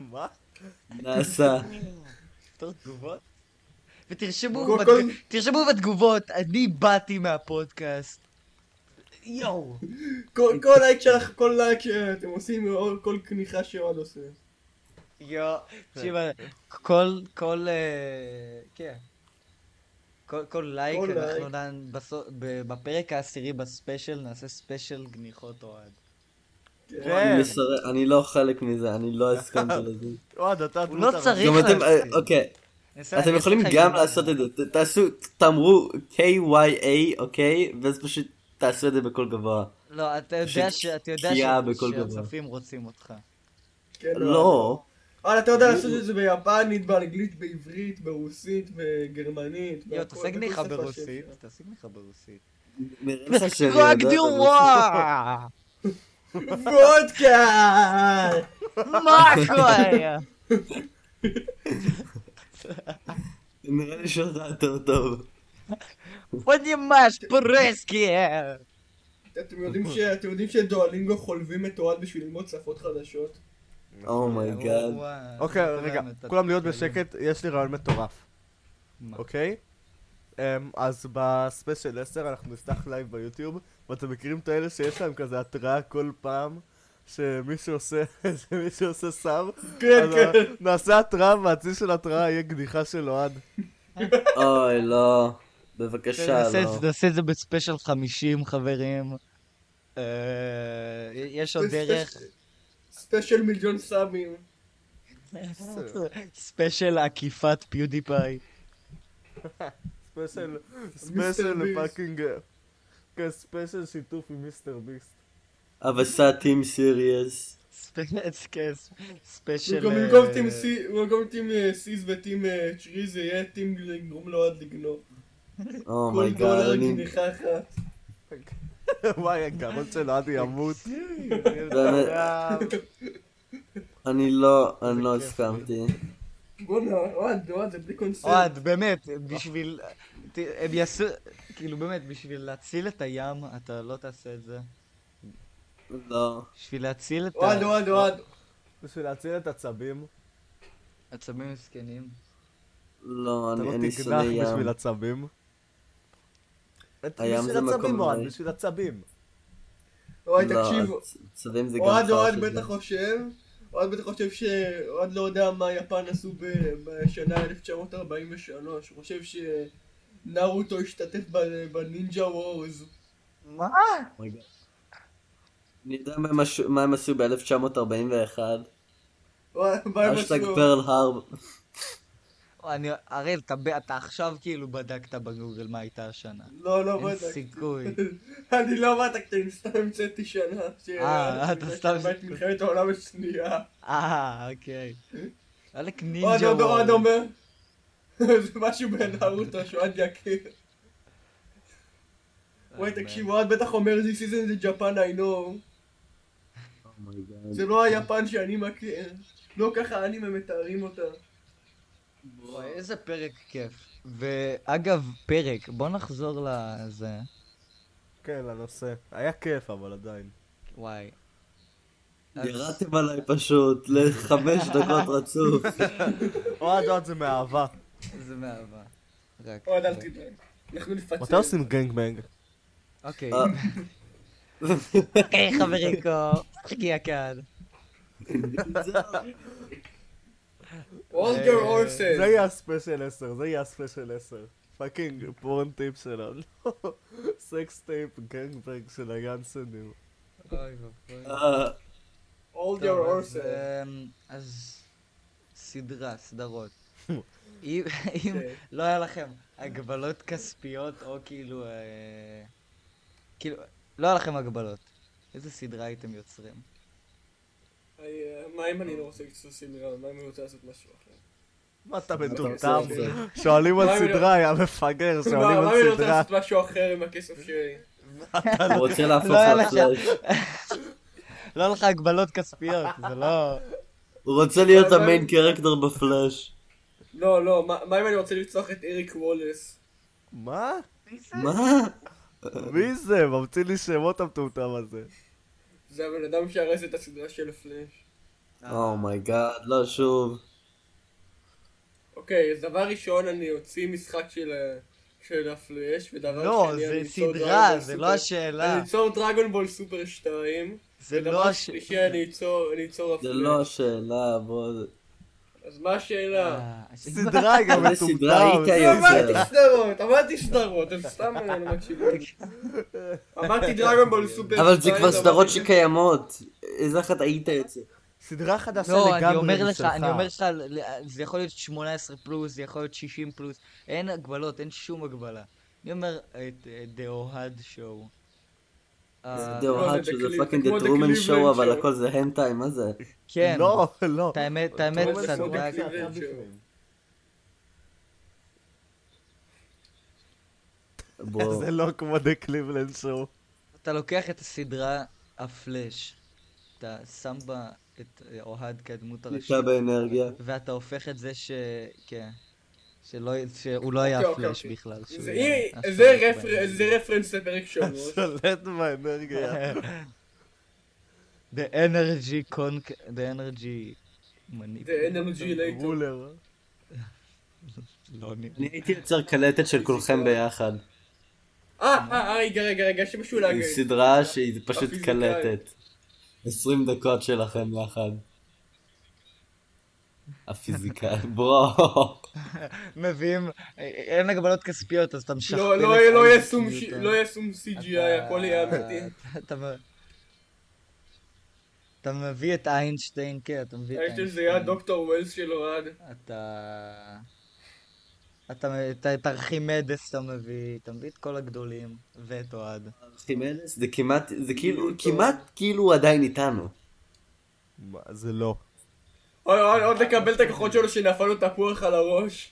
[SPEAKER 2] מה?
[SPEAKER 1] [LAUGHS]
[SPEAKER 4] נעשה.
[SPEAKER 1] ותרשמו,
[SPEAKER 3] כל-
[SPEAKER 1] בתג-
[SPEAKER 3] כל-
[SPEAKER 1] תרשמו בתגובות, אני באתי מהפודקאסט. יואו.
[SPEAKER 3] כל כל לייק שלך, כל לייק שאתם עושים, או כל כניחה שאוהד עושה.
[SPEAKER 1] יואו. תקשיב, כל, כל, אה, כן. כל, כל לייק,
[SPEAKER 3] כל
[SPEAKER 1] אנחנו
[SPEAKER 3] לייק.
[SPEAKER 1] נען בסו- ב- בפרק העשירי בספיישל, נעשה ספיישל גניחות אוהד.
[SPEAKER 4] אני
[SPEAKER 2] כן,
[SPEAKER 4] מסרב- אני לא חלק מזה, אני לא הסכמתי לזה.
[SPEAKER 2] אוהד, אתה...
[SPEAKER 1] הוא לא
[SPEAKER 2] אתה-
[SPEAKER 1] [LAUGHS] צריך
[SPEAKER 4] גם אתם,
[SPEAKER 1] להסכים.
[SPEAKER 4] אה, אוקיי,
[SPEAKER 1] נעשה-
[SPEAKER 4] אתם
[SPEAKER 1] אני
[SPEAKER 4] יכולים
[SPEAKER 1] אעשה לך
[SPEAKER 4] גם
[SPEAKER 1] אימון.
[SPEAKER 4] לעשות את זה, ת- תעשו, תאמרו KYA, אוקיי? ואז פשוט תעשו את זה בקול גבוה.
[SPEAKER 1] לא, אתה
[SPEAKER 4] פשוט
[SPEAKER 1] יודע ש- אתה יודע
[SPEAKER 4] פגיעה
[SPEAKER 1] ש-
[SPEAKER 4] בכל גבוה.
[SPEAKER 1] שהצופים רוצים אותך.
[SPEAKER 3] כן,
[SPEAKER 4] לא.
[SPEAKER 3] אבל אתה יודע לעשות את זה ביפנית, באנגלית, בעברית, ברוסית, בגרמנית.
[SPEAKER 1] יואו,
[SPEAKER 3] והכל,
[SPEAKER 1] תעשה גניחה
[SPEAKER 3] בכל שפה
[SPEAKER 1] ברוסית.
[SPEAKER 3] שאפשר.
[SPEAKER 1] תעשה גניחה
[SPEAKER 4] [LAUGHS]
[SPEAKER 1] ברוסית.
[SPEAKER 4] נראה לך שאני יודע,
[SPEAKER 1] רק
[SPEAKER 4] אבל-
[SPEAKER 1] דירואה!
[SPEAKER 3] וודקה!
[SPEAKER 1] מה
[SPEAKER 4] [LAUGHS]
[SPEAKER 1] קורה?
[SPEAKER 4] נראה לי שלך יותר טוב.
[SPEAKER 1] פנימש פרסקי!
[SPEAKER 3] אתם יודעים ש- אתם יודעים שדואלינגו חולבים את אוהד בשביל ללמוד שפות
[SPEAKER 1] [LAUGHS]
[SPEAKER 3] חדשות?
[SPEAKER 4] Oh אומייגאד.
[SPEAKER 1] וואו,
[SPEAKER 2] אוקיי,
[SPEAKER 1] זה
[SPEAKER 2] רגע,
[SPEAKER 1] כולם את
[SPEAKER 2] כולם להיות
[SPEAKER 1] הכללים.
[SPEAKER 2] בשקט, יש לי רעיון מטורף,
[SPEAKER 1] מה?
[SPEAKER 2] אוקיי? אמ, אז בספיישל 10 אנחנו נפתח לייב ביוטיוב, ואתם מכירים את האלה שיש להם כזה התראה כל פעם שמישהו [LAUGHS] עושה, שמישהו עושה סאב?
[SPEAKER 3] כן,
[SPEAKER 2] אז
[SPEAKER 3] כן.
[SPEAKER 2] נעשה התראה, והצי של התראה יהיה גניחה של אוהד.
[SPEAKER 4] אוי, לא. בבקשה,
[SPEAKER 1] נעשה את
[SPEAKER 4] לא.
[SPEAKER 1] זה- נעשה את זה בספיישל 50, חברים. אה, יש עוד דרך.
[SPEAKER 3] ספיישל מיליון סאבים.
[SPEAKER 1] ספיישל עקיפת פיודיפיי.
[SPEAKER 2] ספיישל,
[SPEAKER 3] מיסטר
[SPEAKER 2] ספיישל
[SPEAKER 3] ביסט.
[SPEAKER 2] פאקינג, כן, ספיישל שיתוף עם מיסטר [LAUGHS] ביסט.
[SPEAKER 4] אבסה טים סיריאס.
[SPEAKER 1] ספיישל, כן, ספיישל...
[SPEAKER 3] במקום
[SPEAKER 1] אה,
[SPEAKER 3] במקום טים סי- במקום טים אה, סיס וטים אה, צ'רי זה יהיה טים לגרום לאוהד לגנוב. כל
[SPEAKER 4] אומייגאד,
[SPEAKER 3] דולר
[SPEAKER 4] Oh אני...
[SPEAKER 3] גניחה אחת.
[SPEAKER 2] וואי, הגרון של עדי ימות. [LAUGHS]
[SPEAKER 4] באמת. אני לא, אני לא הסכמתי.
[SPEAKER 3] בואנה, אוהד, אוהד, זה בלי קונספט. [LAUGHS]
[SPEAKER 1] אוהד, באמת, בשביל... ת- הם יעשו... כאילו, באמת, בשביל להציל את הים, אתה לא תעשה את זה.
[SPEAKER 4] לא.
[SPEAKER 1] בשביל להציל את
[SPEAKER 3] אוהד, אוהד, אוהד.
[SPEAKER 2] בשביל להציל את עצבים,
[SPEAKER 1] העצבים מסכנים.
[SPEAKER 4] לא,
[SPEAKER 2] אתה לא
[SPEAKER 4] אני אני
[SPEAKER 2] תקדח
[SPEAKER 4] שונא ים.
[SPEAKER 2] בשביל עצבים.
[SPEAKER 4] הים
[SPEAKER 2] בשביל
[SPEAKER 4] זה
[SPEAKER 2] עצבים,
[SPEAKER 4] מקום
[SPEAKER 2] אוהד,
[SPEAKER 4] נוראי.
[SPEAKER 2] בשביל עצבים.
[SPEAKER 3] אוהד,
[SPEAKER 4] לא,
[SPEAKER 3] תקשיבו.
[SPEAKER 4] הצ- צווים זה גם
[SPEAKER 3] אוהד,
[SPEAKER 4] חרא
[SPEAKER 3] אוהד
[SPEAKER 4] של
[SPEAKER 3] בטח
[SPEAKER 4] זה.
[SPEAKER 3] חושב. אוהד בטח חושב שאוהד לא יודע מה יפן עשו ב- בשנה 1943. הוא חושב שנרוטו השתתף ב- בנינג'ה וורז.
[SPEAKER 1] מה?
[SPEAKER 4] אני יודע מה הם עשו- מה הם עשו ב-1941.
[SPEAKER 3] אוהד, מה הם
[SPEAKER 4] אשטג
[SPEAKER 3] עשו?
[SPEAKER 4] פרל הרב.
[SPEAKER 1] אני... הראל, אתה ב- אתה עכשיו כאילו בדקת בגוגל מה הייתה השנה.
[SPEAKER 3] לא, לא
[SPEAKER 1] אין
[SPEAKER 3] בדקתי.
[SPEAKER 1] סיכוי.
[SPEAKER 3] [LAUGHS] אני לא בדקתי, אני סתם המצאתי שנה. ש-
[SPEAKER 1] אה, אתה סתם-
[SPEAKER 3] את מלחמת העולם השנייה.
[SPEAKER 1] אה, אוקיי. עלק
[SPEAKER 3] אוהד
[SPEAKER 1] נינג'ה וורלד.
[SPEAKER 3] עוד אוהד אומר. [LAUGHS] זה משהו בנרוטו שאוהד יכיר.
[SPEAKER 1] אה,
[SPEAKER 3] וואי, תקשיב, אוהד בטח אומר This isn't the Japan I know. זה לא היפן שאני מכיר. לא ככה אנימה מתארים אותה.
[SPEAKER 1] וואי, איזה פרק כיף. ואגב, פרק, בוא נחזור לזה.
[SPEAKER 2] כן, לנושא. היה כיף, אבל עדיין.
[SPEAKER 1] וואי. אז-
[SPEAKER 4] ירדתם עליי פשוט לחמש דקות רצוף.
[SPEAKER 2] אוהד, אוהד זה מאהבה.
[SPEAKER 1] זה מאהבה. רק.
[SPEAKER 3] אוהד, אל תדאג. אנחנו
[SPEAKER 2] מתי
[SPEAKER 3] נפצל.
[SPEAKER 2] עושים גנגבנג?
[SPEAKER 1] אוקיי.
[SPEAKER 4] אה.
[SPEAKER 1] אוקיי, חבריקו, תגיע כאן.
[SPEAKER 3] אולגר
[SPEAKER 1] אה,
[SPEAKER 3] אורסן.
[SPEAKER 2] זה יהיה הספיישל 10, זה יהיה הספיישל 10. פאקינג פורן טיפ שלנו. [LAUGHS] סקס טייפ גנגבנג של היאנסנים.
[SPEAKER 1] אוי ואבוי.
[SPEAKER 4] אה,
[SPEAKER 3] אולגר
[SPEAKER 1] טוב, אז,
[SPEAKER 3] אורסן.
[SPEAKER 1] אמ, אז סדרה, סדרות. אם
[SPEAKER 3] כן.
[SPEAKER 1] אם לא היה לכם הגבלות כספיות או כאילו... אה, כאילו, לא היה לכם הגבלות. איזה סדרה הייתם יוצרים?
[SPEAKER 2] אה,
[SPEAKER 3] מה אם אני לא רוצה לקצור סדרה? מה אם אני רוצה לעשות משהו אחר?
[SPEAKER 2] מה אתה
[SPEAKER 4] אתה
[SPEAKER 2] מטומטם?
[SPEAKER 4] עושה את זה.
[SPEAKER 2] שואלים על
[SPEAKER 3] מה אם
[SPEAKER 2] סדרה, היה מפגר,
[SPEAKER 3] מה לא
[SPEAKER 2] שואלים
[SPEAKER 3] מה אם אני
[SPEAKER 2] על
[SPEAKER 3] רוצה
[SPEAKER 2] סדרה.
[SPEAKER 3] לעשות משהו אחר עם הכסף שלי?
[SPEAKER 4] אה, הוא רוצה להפוך
[SPEAKER 1] לא היה לך.
[SPEAKER 4] לפלאש.
[SPEAKER 1] לא היה לך הגבלות כספיות, זה לא...
[SPEAKER 4] הוא רוצה להיות
[SPEAKER 3] אבל-
[SPEAKER 4] המיין קרקטר בפלאש.
[SPEAKER 3] לא, לא, מה מה אם אני רוצה לרצוח את אריק וולס?
[SPEAKER 2] מה?
[SPEAKER 4] מה?
[SPEAKER 2] מי זה? ממציא לי שמות המטומטם הזה.
[SPEAKER 3] זה הבן אדם שהרס את הסדרה של הפלאש.
[SPEAKER 1] אה.
[SPEAKER 4] אומייגאד, לא שוב.
[SPEAKER 3] אוקיי, אז דבר ראשון אני אוציא משחק של ה- של הפלאש, ודבר
[SPEAKER 1] לא,
[SPEAKER 3] שני
[SPEAKER 1] זה
[SPEAKER 3] אני אצור
[SPEAKER 1] סדרה,
[SPEAKER 3] דרגון
[SPEAKER 1] זה
[SPEAKER 3] סופר-
[SPEAKER 1] לא השאלה.
[SPEAKER 3] אני אצור דרגון בול סופר 2,
[SPEAKER 1] זה לא
[SPEAKER 3] ודבר
[SPEAKER 1] הש...
[SPEAKER 3] שלישי אני אצור אני אצור
[SPEAKER 4] זה לא
[SPEAKER 3] הפלאש.
[SPEAKER 4] השאלה, בוא...
[SPEAKER 3] אז מה השאלה?
[SPEAKER 1] אה, הסדרה.
[SPEAKER 2] סדרה גם
[SPEAKER 4] איזה סדרה היית
[SPEAKER 2] מטומטם.
[SPEAKER 3] לא, אמרתי
[SPEAKER 4] יוצר?
[SPEAKER 3] סדרות, אמרתי סדרות, הם סתם לא מקשיבים. אמרתי דרגון בול סופר 2.
[SPEAKER 4] אבל זה כבר סדרות
[SPEAKER 3] ואמרתי-
[SPEAKER 4] שקיימות. איזה אחת היית יוצר?
[SPEAKER 2] סדרה חדשה
[SPEAKER 1] לא,
[SPEAKER 2] לגמרי
[SPEAKER 1] אני אומר לך,
[SPEAKER 2] משלך.
[SPEAKER 1] אני אומר לך, ל- זה יכול להיות 18 פלוס, זה יכול להיות 60 פלוס, אין הגבלות, אין שום הגבלה. אני אומר את אה, The Ohad Show. אה,
[SPEAKER 4] זה אוהד
[SPEAKER 3] זה
[SPEAKER 4] שזה
[SPEAKER 3] בקליפ,
[SPEAKER 4] פאקינג
[SPEAKER 3] זה כמו
[SPEAKER 4] דה טרומן
[SPEAKER 3] בקליפ
[SPEAKER 4] שואו, אבל
[SPEAKER 3] שואו.
[SPEAKER 4] הכל זה הנטאי, מה זה?
[SPEAKER 1] כן,
[SPEAKER 2] לא, לא.
[SPEAKER 1] את האמת, את האמת,
[SPEAKER 3] טרומן שואו
[SPEAKER 1] צדק.
[SPEAKER 3] בקליפ.
[SPEAKER 4] בוא.
[SPEAKER 2] זה לא כמו דה קליבלנד שואו.
[SPEAKER 1] אתה לוקח את הסדרה הפלאש, אתה שם בה את אה, אוהד כדמות הראשית,
[SPEAKER 4] נשאר באנרגיה.
[SPEAKER 1] ואתה הופך את זה ש... כן. שלא, שהוא לא היה
[SPEAKER 3] אוקיי, אוקיי,
[SPEAKER 1] פלאש
[SPEAKER 3] אוקיי.
[SPEAKER 1] בכלל. שהוא
[SPEAKER 3] זה-
[SPEAKER 1] היה
[SPEAKER 3] הנה,
[SPEAKER 1] אף
[SPEAKER 3] זה
[SPEAKER 1] פעם
[SPEAKER 3] רפר-
[SPEAKER 1] לא היה.
[SPEAKER 3] זה רפרנס לפרק 3.
[SPEAKER 2] שולט
[SPEAKER 1] [LAUGHS]
[SPEAKER 2] באנרגיה.
[SPEAKER 1] The energy conc... The energy... מניפ... [LAUGHS]
[SPEAKER 3] זה NRG later.
[SPEAKER 2] רולר.
[SPEAKER 1] לא נראה.
[SPEAKER 4] אני הייתי יוצר קלטת של כולכם ביחד.
[SPEAKER 3] אה, אה, אה, רגע, רגע, רגע, יש לי משהו
[SPEAKER 4] עם
[SPEAKER 3] להגיד.
[SPEAKER 4] סדרה שהיא פשוט
[SPEAKER 3] הפיזיקאים.
[SPEAKER 4] קלטת. 20 דקות שלכם יחד. הפיזיקה, [LAUGHS] בוא.
[SPEAKER 1] מביאים, אין הגבלות כספיות, אז אתה משכפל
[SPEAKER 3] לא,
[SPEAKER 1] את
[SPEAKER 3] לא יהיה- לא יהיה שום
[SPEAKER 1] האינטנסיביות, אה.
[SPEAKER 3] ש- לא יהיה שום CGI, הכל יהיה
[SPEAKER 1] אתה-
[SPEAKER 3] אמיתי.
[SPEAKER 1] אתה מ- אתה מביא את איינשטיין, כן, אתה מביא את
[SPEAKER 3] אני חושב שזה
[SPEAKER 1] איינשטיין.
[SPEAKER 3] יהיה הדוקטור ווילס שלו עד.
[SPEAKER 1] אתה... אתה את- את ארכימדס אתה מביא, אתה מביא את כל הגדולים, ואת אוהד.
[SPEAKER 4] חימנס, זה כמעט, זה כאילו, כמעט כאילו הוא עדיין איתנו.
[SPEAKER 2] מה, זה לא.
[SPEAKER 3] עוד- עוד עוד לקבל את הכוחות שלו שנפל לו תפוח על הראש.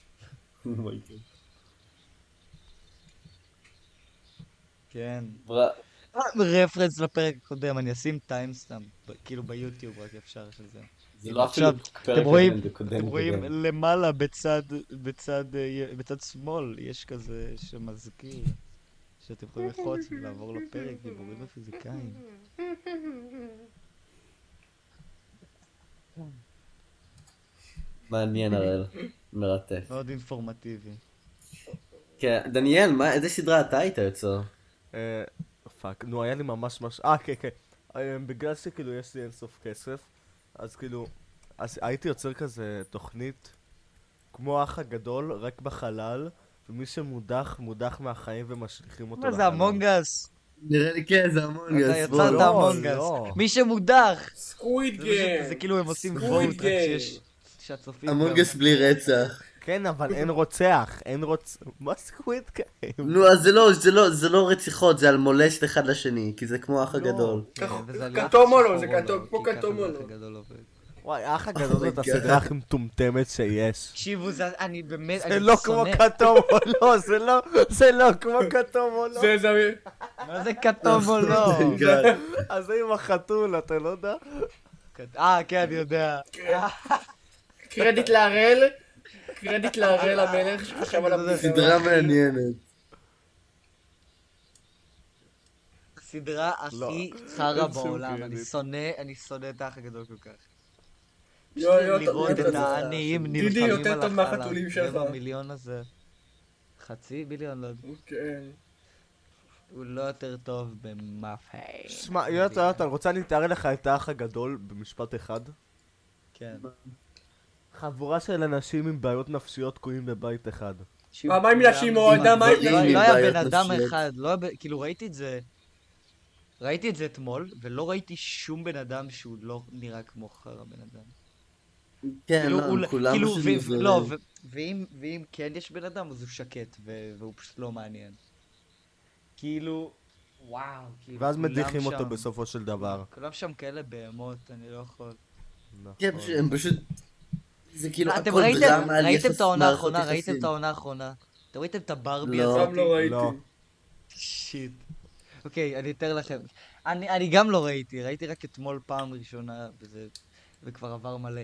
[SPEAKER 1] כן.
[SPEAKER 4] ברה-
[SPEAKER 1] אה, רפרנס לפרק הקודם, אני אשים טיימסטאם, ב- כאילו ביוטיוב רק אפשר של זה.
[SPEAKER 2] כן,
[SPEAKER 4] זה לא
[SPEAKER 1] עכשיו,
[SPEAKER 4] אפילו פרק
[SPEAKER 1] אתם רואים-
[SPEAKER 4] קודם, זה קודם
[SPEAKER 1] אתם רואים
[SPEAKER 4] קודם.
[SPEAKER 1] למעלה בצד, בצד, אה, בצד שמאל, יש כזה שמזכיר, שאתם יכולים ללחוץ ולעבור לפרק, דיבורים ופיזיקאים.
[SPEAKER 4] מעניין הראל, מרתק.
[SPEAKER 1] מאוד אינפורמטיבי.
[SPEAKER 4] כן, דניאל, מה- איזה סדרה אתה היית יוצר?
[SPEAKER 2] אה, פאק, נו היה לי ממש ממש, אה כן כן, אה, בגלל שכאילו יש לי אינסוף כסף, אז כאילו, אז הייתי יוצר כזה תוכנית, כמו האח הגדול, רק בחלל, ומי שמודח, מודח מהחיים ומשליכים אותו
[SPEAKER 1] מה
[SPEAKER 2] לחלל.
[SPEAKER 1] זה המונגס?
[SPEAKER 4] נראה לי כן, זה המון
[SPEAKER 1] אתה יצרת
[SPEAKER 2] לא,
[SPEAKER 1] המונגס.
[SPEAKER 2] לא.
[SPEAKER 1] מי שמודח!
[SPEAKER 3] סקוויד
[SPEAKER 1] זה פשוט-
[SPEAKER 3] גיים.
[SPEAKER 1] זה כאילו הם עושים
[SPEAKER 3] סקוויד
[SPEAKER 1] וורט, רק
[SPEAKER 3] גיים.
[SPEAKER 1] שיש... שהצופים...
[SPEAKER 4] המונגס בלי רצח.
[SPEAKER 2] כן, אבל אין רוצח, אין רוצ... מה סקוויד קיים?
[SPEAKER 4] נו, אז זה לא, זה לא, זה לא רציחות, זה על מולשת אחד לשני, כי זה כמו האח הגדול.
[SPEAKER 1] כן, וזה על
[SPEAKER 3] כתום
[SPEAKER 1] יחס
[SPEAKER 3] מולו, זה
[SPEAKER 1] שחור
[SPEAKER 3] כתום,
[SPEAKER 1] מולו,
[SPEAKER 3] כמו
[SPEAKER 1] כי ככה
[SPEAKER 3] כתום
[SPEAKER 1] זה
[SPEAKER 3] מולו.
[SPEAKER 1] האח הגדול עובד.
[SPEAKER 2] וואי, האח הגדול
[SPEAKER 1] [LAUGHS]
[SPEAKER 2] זאת
[SPEAKER 4] my God.
[SPEAKER 2] הסדרה הכי מטומטמת שיש.
[SPEAKER 1] תקשיבו, זה- אני באמת, אני
[SPEAKER 2] זה לא כמו
[SPEAKER 1] שונא.
[SPEAKER 2] כתום או
[SPEAKER 1] [LAUGHS]
[SPEAKER 2] לא, זה לא, זה לא כמו כתום או לא.
[SPEAKER 3] זה זה...
[SPEAKER 1] מה זה כתום או
[SPEAKER 2] [LAUGHS]
[SPEAKER 1] לא?
[SPEAKER 2] אז זה עם החתול, אתה לא יודע?
[SPEAKER 1] כת- אה, כן, אני יודע.
[SPEAKER 3] קרדיט להראל. קרדיט להראל המלך שחשב על
[SPEAKER 1] זה
[SPEAKER 3] הפתרון.
[SPEAKER 4] סדרה מעניינת.
[SPEAKER 1] הסדרה
[SPEAKER 3] לא.
[SPEAKER 1] הכי חרא
[SPEAKER 2] אין שום
[SPEAKER 1] בעולם, אני
[SPEAKER 2] קרדיט.
[SPEAKER 1] שונא, אני שונא את האח הגדול כל כך.
[SPEAKER 3] יואו, יואו, אתה-
[SPEAKER 1] לראות
[SPEAKER 3] יואו,
[SPEAKER 1] את
[SPEAKER 3] אתה-
[SPEAKER 1] העניים
[SPEAKER 3] לא, דידי,
[SPEAKER 1] נלחמים
[SPEAKER 3] יותר
[SPEAKER 1] על
[SPEAKER 3] טוב
[SPEAKER 1] החלב,
[SPEAKER 3] מהחתולים שלך.
[SPEAKER 1] רבע מיליון הזה. חצי ביליון, לא יודע.
[SPEAKER 3] כן.
[SPEAKER 1] הוא לא יותר טוב במאפי.
[SPEAKER 2] שמע, יונתן, יונתן, רוצה אני אתאר לך את האח הגדול במשפט אחד?
[SPEAKER 1] כן.
[SPEAKER 2] חבורה של אנשים עם בעיות נפשיות תקועים בבית אחד.
[SPEAKER 1] שהוא
[SPEAKER 3] מה, מה עם
[SPEAKER 1] כולם
[SPEAKER 3] נשים אוהדה? מה עם
[SPEAKER 1] לא
[SPEAKER 4] עם
[SPEAKER 1] לא היה
[SPEAKER 4] בעיות
[SPEAKER 1] בן אדם
[SPEAKER 4] נפשיות.
[SPEAKER 1] אחד, לא היה בן- כאילו ראיתי את זה, ראיתי את זה אתמול, ולא ראיתי שום בן אדם שהוא לא נראה כמו חרא בן אדם.
[SPEAKER 4] כן,
[SPEAKER 1] כאילו, הוא
[SPEAKER 4] לא,
[SPEAKER 1] לא-
[SPEAKER 4] כולם
[SPEAKER 1] כאילו,
[SPEAKER 4] פשוט
[SPEAKER 1] ו-
[SPEAKER 4] מוזרים.
[SPEAKER 1] לא, ו- ואם- ואם כן יש בן אדם, אז הוא שקט, ו- והוא פשוט לא מעניין. כאילו, וואו, כאילו,
[SPEAKER 2] ואז
[SPEAKER 1] כולם
[SPEAKER 2] מדיחים אותו
[SPEAKER 1] שם-
[SPEAKER 2] בסופו של דבר.
[SPEAKER 1] כולם שם כאלה בהמות, אני לא יכול. נכון.
[SPEAKER 4] כן, פשוט- הם פשוט... זה כאילו
[SPEAKER 1] אתם
[SPEAKER 4] הכל
[SPEAKER 1] ראיתם
[SPEAKER 4] דרמה על
[SPEAKER 1] ראיתם
[SPEAKER 4] יחס
[SPEAKER 1] את העונה
[SPEAKER 4] מערכות
[SPEAKER 1] האחרונה? ראיתם
[SPEAKER 4] יחסים.
[SPEAKER 1] את העונה האחרונה? אתם ראיתם את הברבי
[SPEAKER 4] לא.
[SPEAKER 1] הזאת?
[SPEAKER 3] גם לא ראיתי.
[SPEAKER 2] לא.
[SPEAKER 1] שיט. אוקיי, אני אתאר לכם. אני, אני גם לא ראיתי, ראיתי רק אתמול פעם ראשונה, וזה, וכבר עבר מלא.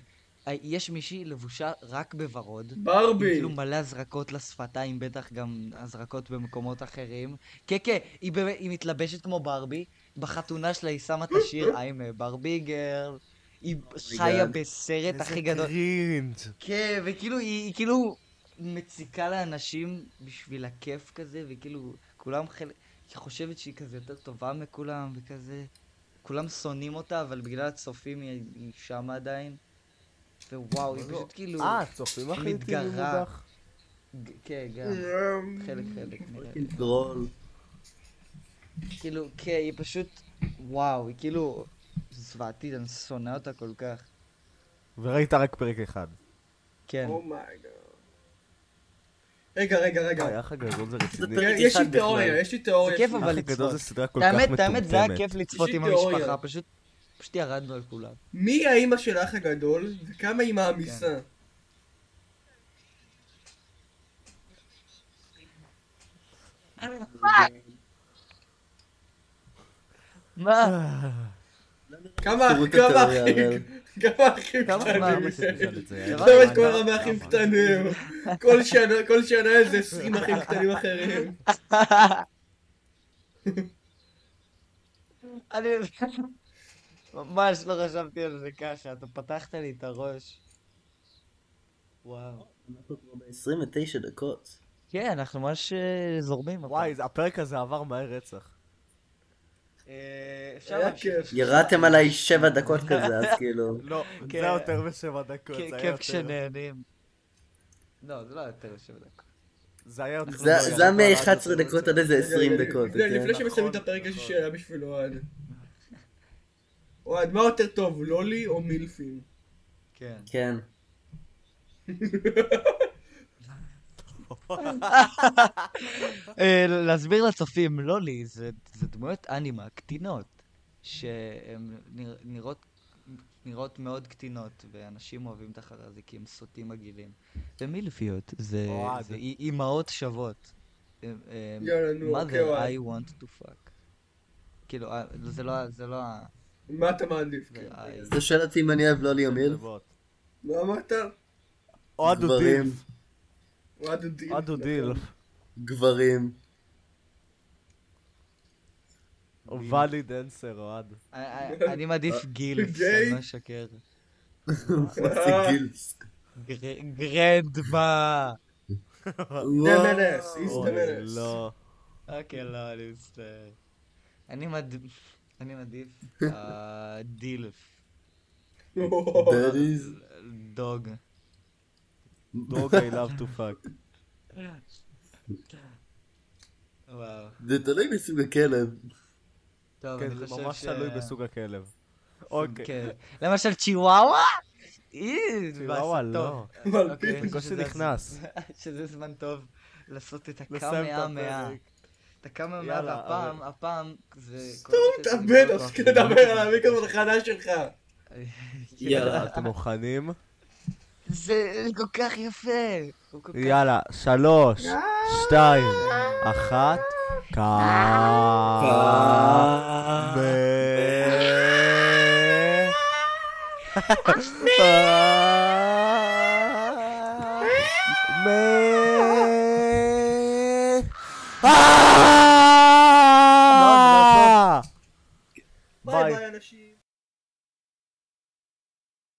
[SPEAKER 1] אה, יש מישהי לבושה רק בוורוד. עם
[SPEAKER 3] ברבי.
[SPEAKER 1] כאילו מלא הזרקות לשפתיים, בטח גם הזרקות במקומות אחרים. כן, כן, היא, באמת- היא מתלבשת כמו ברבי, בחתונה שלה היא שמה את השיר I'm a Barbie girl, היא חיה
[SPEAKER 4] God.
[SPEAKER 1] בסרט הכי
[SPEAKER 2] איזה
[SPEAKER 1] גדול.
[SPEAKER 2] קרינג'.
[SPEAKER 1] כן, וכאילו, היא, היא כאילו מציקה לאנשים בשביל הכיף כזה, וכאילו, כולם חלק... היא חושבת שהיא כזה יותר טובה מכולם, וכזה... כולם שונאים אותה, אבל בגלל הצופים היא, היא שמה עדיין. ווואו, היא פשוט כאילו...
[SPEAKER 2] אה, צופים הכי
[SPEAKER 1] מתגרה.
[SPEAKER 2] איטיים מודח.
[SPEAKER 1] ג- כן, גם. חלק חלק נראה.
[SPEAKER 4] כן,
[SPEAKER 1] לי.
[SPEAKER 4] דרול.
[SPEAKER 1] כאילו, כן, היא פשוט... וואו, היא כאילו... זוועתית, אני שונא אותה כל כך.
[SPEAKER 2] וראית רק פרק אחד.
[SPEAKER 1] כן.
[SPEAKER 3] אומייגאד. Oh רגע, רגע, רגע.
[SPEAKER 2] וואי, האח הגדול זה רציני.
[SPEAKER 1] אה,
[SPEAKER 4] פרק
[SPEAKER 3] יש לי
[SPEAKER 4] אחד
[SPEAKER 3] תיאוריה,
[SPEAKER 4] בכלל.
[SPEAKER 3] יש לי
[SPEAKER 1] זה
[SPEAKER 3] תיאוריה.
[SPEAKER 1] כיף,
[SPEAKER 2] האח
[SPEAKER 1] אבל
[SPEAKER 2] הגדול
[SPEAKER 1] לצפות.
[SPEAKER 2] זה סדרה כל כך
[SPEAKER 1] האמת,
[SPEAKER 2] מטומטמת.
[SPEAKER 1] האמת, זה היה כיף לצפות
[SPEAKER 3] יש לי
[SPEAKER 1] עם
[SPEAKER 3] תיאוריה.
[SPEAKER 1] המשפחה, פשוט... פשוט ירדנו על כולם.
[SPEAKER 3] מי האימא של האח הגדול, וכמה היא מעמיסה?
[SPEAKER 2] כן.
[SPEAKER 1] מה?
[SPEAKER 3] כמה
[SPEAKER 4] תראו את
[SPEAKER 3] כמה
[SPEAKER 4] התיאוריה,
[SPEAKER 3] אחים, כמה אחים
[SPEAKER 1] כמה
[SPEAKER 3] קטנים.
[SPEAKER 1] מעמיסה?
[SPEAKER 2] [LAUGHS]
[SPEAKER 3] עכשיו יש כבר הרבה אחים קטנים. כל שנה- כל שנה איזה 20 אחים קטנים אחרים.
[SPEAKER 1] [LAUGHS]
[SPEAKER 2] [LAUGHS]
[SPEAKER 1] אני ממש לא חשבתי על זה ככה, אתה פתחת לי את הראש. וואו.
[SPEAKER 4] אנחנו כבר ב-29 דקות.
[SPEAKER 1] כן, אנחנו ממש אה, זורמים. הפעם.
[SPEAKER 2] וואי, זה- הפרק הזה עבר מהר רצח.
[SPEAKER 1] אה, אפשר
[SPEAKER 3] היה
[SPEAKER 1] להמשיך?
[SPEAKER 3] כיף.
[SPEAKER 4] ירדתם עליי שבע דקות כזה, אז
[SPEAKER 1] [LAUGHS]
[SPEAKER 4] כאילו...
[SPEAKER 2] לא, זה
[SPEAKER 1] כן.
[SPEAKER 2] היה יותר משבע דקות. זה
[SPEAKER 1] כ-
[SPEAKER 2] היה
[SPEAKER 1] כיף
[SPEAKER 2] יותר-
[SPEAKER 1] כשנהנים. לא, זה לא היה יותר שבע דקות.
[SPEAKER 2] זה היה יותר... לא
[SPEAKER 4] זה
[SPEAKER 2] משבע
[SPEAKER 4] זה היה
[SPEAKER 2] דקות,
[SPEAKER 4] מ-11
[SPEAKER 2] אבל-
[SPEAKER 4] דקות עד איזה 20
[SPEAKER 3] רגע,
[SPEAKER 4] דקות.
[SPEAKER 3] לפני-
[SPEAKER 4] אוקיי?
[SPEAKER 3] לפני שמסיימים את
[SPEAKER 2] נכון,
[SPEAKER 3] הפרק יש לי
[SPEAKER 2] נכון.
[SPEAKER 3] שאלה בשביל אוהד. אוהד, מה יותר טוב, לולי או מילפים?
[SPEAKER 1] כן.
[SPEAKER 4] כן.
[SPEAKER 1] אה, להסביר לצופים, לולי, זה זה דמויות אנימה, קטינות, שהן נר- נראות... נראות מאוד קטינות, ואנשים אוהבים את החרזיקים, סוטים מגעילים. ומילפיות, זה
[SPEAKER 2] אוהד.
[SPEAKER 1] זה אי- אימהות שוות. אה, אה,
[SPEAKER 3] יאללה, נו, אוקיי,
[SPEAKER 1] mother
[SPEAKER 3] אוהד.
[SPEAKER 1] I want to fuck. כאילו, אה, זה לא ה... זה לא ה...
[SPEAKER 3] מה אתה מעדיף?
[SPEAKER 1] זה
[SPEAKER 3] כן.
[SPEAKER 2] אה,
[SPEAKER 1] ה-
[SPEAKER 4] אתה שואל אותי אם אני אוהב לולי או מיל?
[SPEAKER 3] מה אמרת?
[SPEAKER 2] אוהד הוא
[SPEAKER 4] גברים.
[SPEAKER 2] דילף.
[SPEAKER 3] אוהד הוא דיל. נכון.
[SPEAKER 2] אוהד הוא דילף.
[SPEAKER 4] גברים. [LAUGHS]
[SPEAKER 2] או ואליד אנסר, אוהד.
[SPEAKER 1] אה, אה, אני מעדיף גילס,
[SPEAKER 3] גיי.
[SPEAKER 1] אני לא אשקר.
[SPEAKER 4] מה זה
[SPEAKER 1] [LAUGHS]
[SPEAKER 4] גילס?
[SPEAKER 1] גר- גרנדמה!
[SPEAKER 3] דמנס, איס
[SPEAKER 2] אוי,
[SPEAKER 3] דמנס.
[SPEAKER 2] לא.
[SPEAKER 1] אוקיי, לא, אני מצטער. אני מעדיף... אני מעדיף...
[SPEAKER 2] כן.
[SPEAKER 1] אה, דילף.
[SPEAKER 4] That is-
[SPEAKER 1] דוג.
[SPEAKER 2] דוג, I love to
[SPEAKER 1] [LAUGHS]
[SPEAKER 2] fuck.
[SPEAKER 1] וואו.
[SPEAKER 4] זה תלוי בסוג הכלב.
[SPEAKER 1] טוב,
[SPEAKER 2] כן,
[SPEAKER 1] אני
[SPEAKER 2] זה
[SPEAKER 1] חושב ש...
[SPEAKER 2] ממש תלוי בסוג הכלב. אוקיי.
[SPEAKER 1] כן. למשל צ'יוואווה? אי,
[SPEAKER 2] וואלה,
[SPEAKER 1] באסה,
[SPEAKER 2] לא.
[SPEAKER 1] טוב.
[SPEAKER 3] אבל
[SPEAKER 1] אוקיי,
[SPEAKER 3] פתאום.
[SPEAKER 1] אני חושב
[SPEAKER 2] בקושי
[SPEAKER 1] שזה
[SPEAKER 2] נכנס.
[SPEAKER 1] הזמן- [LAUGHS] שזה זמן טוב לעשות את
[SPEAKER 2] לסיים
[SPEAKER 1] הקאמיה
[SPEAKER 2] את
[SPEAKER 1] מאה.
[SPEAKER 2] הפרק.
[SPEAKER 1] את הקאמיה מאה,
[SPEAKER 2] יאללה, אוקיי.
[SPEAKER 1] והפעם,
[SPEAKER 2] אבל-
[SPEAKER 1] הפעם זה...
[SPEAKER 3] סתום את
[SPEAKER 2] לא,
[SPEAKER 3] הבן,
[SPEAKER 2] אוקיי.
[SPEAKER 3] תפסיק לדבר על המיקרופון החדש שלך.
[SPEAKER 4] יאללה.
[SPEAKER 2] אתם מוכנים?
[SPEAKER 1] זה כל כך יפה. הוא כל כך- אה.
[SPEAKER 2] יאללה, שלוש, שתיים, אחת,
[SPEAKER 1] אה.
[SPEAKER 2] קאמי.
[SPEAKER 1] אה. אה.
[SPEAKER 2] אה.